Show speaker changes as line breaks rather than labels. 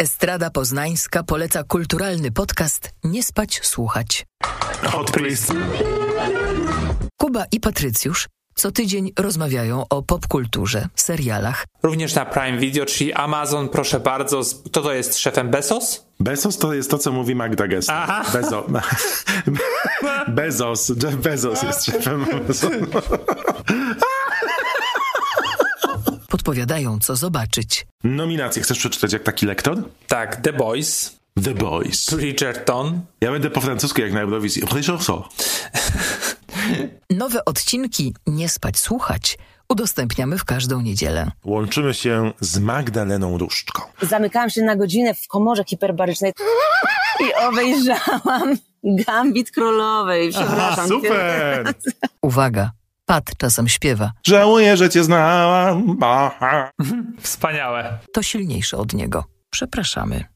Estrada Poznańska poleca kulturalny podcast Nie spać, słuchać.
Hot Priest,
Kuba i Patrycjusz co tydzień rozmawiają o popkulturze, serialach,
Również na Prime Video, czyli Amazon, proszę bardzo. z- Kto to jest szefem Bezos?
Bezos to jest to, co mówi Magda Gessler.
Aha.
Bezo... Bezos. Jeff Bezos jest szefem Amazonu.
podpowiadają co zobaczyć.
Nominacje chcesz przeczytać jak taki lektor?
Tak, The Boys,
The Boys.
Bridgerton,
Ja będę po francusku jak na Eurowizji. Ryżoso.
Nowe odcinki Nie spać, słuchać udostępniamy w każdą niedzielę.
Łączymy się z Magdaleną Różczką.
Zamykałam się na godzinę w komorze hiperbarycznej i obejrzałam Gambit Królowej. Przepraszam.
Super!
Uwaga, Pat czasem śpiewa,
Żałuję, że cię znałam. Aha.
Wspaniałe.
to silniejsze od niego. Przepraszamy.